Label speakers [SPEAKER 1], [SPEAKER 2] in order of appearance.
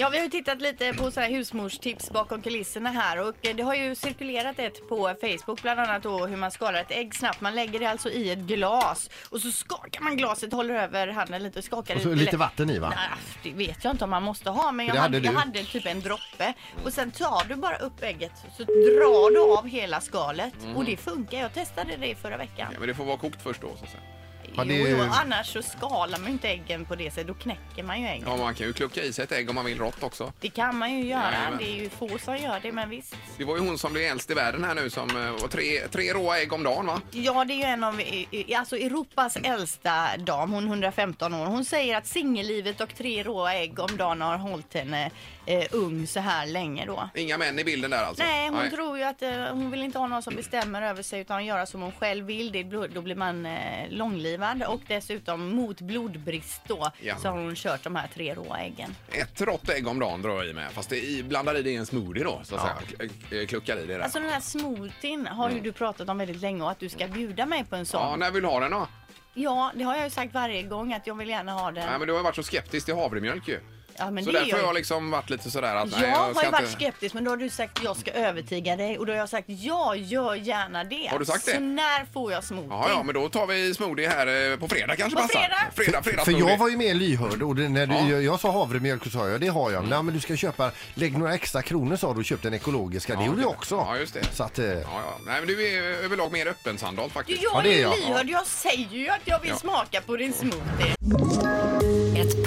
[SPEAKER 1] Ja, vi har ju tittat lite på så här husmorstips bakom kulisserna här och eh, det har ju cirkulerat ett på Facebook bland annat då hur man skalar ett ägg snabbt. Man lägger det alltså i ett glas och så skakar man glaset, håller över handen lite och skakar
[SPEAKER 2] Och så
[SPEAKER 1] det
[SPEAKER 2] lite vatten i, va?
[SPEAKER 1] Eh, Nej, det vet jag inte om man måste ha men jag
[SPEAKER 2] det
[SPEAKER 1] hade,
[SPEAKER 2] hade
[SPEAKER 1] jag
[SPEAKER 2] du.
[SPEAKER 1] hade typ en droppe och sen tar du bara upp ägget så drar du av hela skalet
[SPEAKER 2] Mm.
[SPEAKER 1] och det funkar. Jag testade det förra veckan.
[SPEAKER 3] Ja, men det får vara kokt först då. Så att säga.
[SPEAKER 2] Ja, det-
[SPEAKER 1] Jo, jo, annars så skalar man ju inte äggen på det sättet, då knäcker man ju äggen.
[SPEAKER 3] Ja, man kan ju klucka i sig ett ägg om man vill rått också.
[SPEAKER 1] Det kan man ju göra.
[SPEAKER 3] Jajamän.
[SPEAKER 1] Det är ju få som gör det, men visst.
[SPEAKER 3] Det var ju hon som blev äldst i världen här nu som eh, var tre, tre råa ägg om dagen va?
[SPEAKER 1] Ja, det är ju en av i- i- alltså Europas äldsta dam. Hon är 115 år. Hon säger att singellivet och tre råa ägg om dagen har hållit henne eh, ung så här länge då.
[SPEAKER 3] Inga män i bilden där alltså.
[SPEAKER 1] Nej, hon tror ju att eh, hon vill inte ha någon som bestämmer över sig utan göra som hon själv vill. Det, blir- då blir man eh, långlivad och dessutom mot blodbrist då
[SPEAKER 3] Ja.
[SPEAKER 1] så har hon kört de här tre råa äggen.
[SPEAKER 3] Ett rått ägg om dagen drar jag i med. Fast det i, blandar i det i en smoothie då så att säga. K- eh, Kluckar i det där.
[SPEAKER 1] Alltså den här smoothien har ju du pratat om väldigt länge och att du ska bjuda mig på en sån.
[SPEAKER 3] Mm. Ja, när vill du ha den då?
[SPEAKER 1] Ja, det har jag ju sagt varje gång att jag vill gärna ha den.
[SPEAKER 3] Nej, men du har ju varit så skeptisk till havremjölk ju.
[SPEAKER 1] ja, men
[SPEAKER 3] så
[SPEAKER 1] det är
[SPEAKER 3] därför har
[SPEAKER 1] ju-
[SPEAKER 3] jag liksom varit lite sådär att nej,
[SPEAKER 1] jag
[SPEAKER 3] jag
[SPEAKER 1] har
[SPEAKER 3] ska
[SPEAKER 1] ju varit
[SPEAKER 3] inte...
[SPEAKER 1] skeptisk men då har du sagt att jag ska övertyga dig och då har jag sagt jag gör gärna det.
[SPEAKER 3] Har du sagt det?
[SPEAKER 1] Så när får jag smoothie?
[SPEAKER 3] Ja, ja, men då tar vi smoothie här eh, på fredag kanske
[SPEAKER 1] På
[SPEAKER 3] passar.
[SPEAKER 1] fredag?
[SPEAKER 3] Fredag, fredag
[SPEAKER 2] För
[SPEAKER 3] smoothie.
[SPEAKER 2] jag var ju mer lyhörd och det, när du,
[SPEAKER 3] Ja.
[SPEAKER 2] jag, jag sa havremjölk så sa jag det har jag. Nej men du ska köpa, lägg några extra kronor sa du och köp den ekologiska. det gjorde jag också.
[SPEAKER 3] Ja, just det.
[SPEAKER 2] Så att, eh,
[SPEAKER 3] Ja, ja. Nej, men du är överlag mer öppen Sandahl
[SPEAKER 1] Du,
[SPEAKER 3] faktiskt.
[SPEAKER 1] jag
[SPEAKER 2] Ja,
[SPEAKER 1] är
[SPEAKER 2] det är
[SPEAKER 1] ju
[SPEAKER 2] jag.
[SPEAKER 1] lyhörd. Jag säger ju att jag vill
[SPEAKER 3] Ja.
[SPEAKER 1] smaka på din smoothie.
[SPEAKER 4] Ett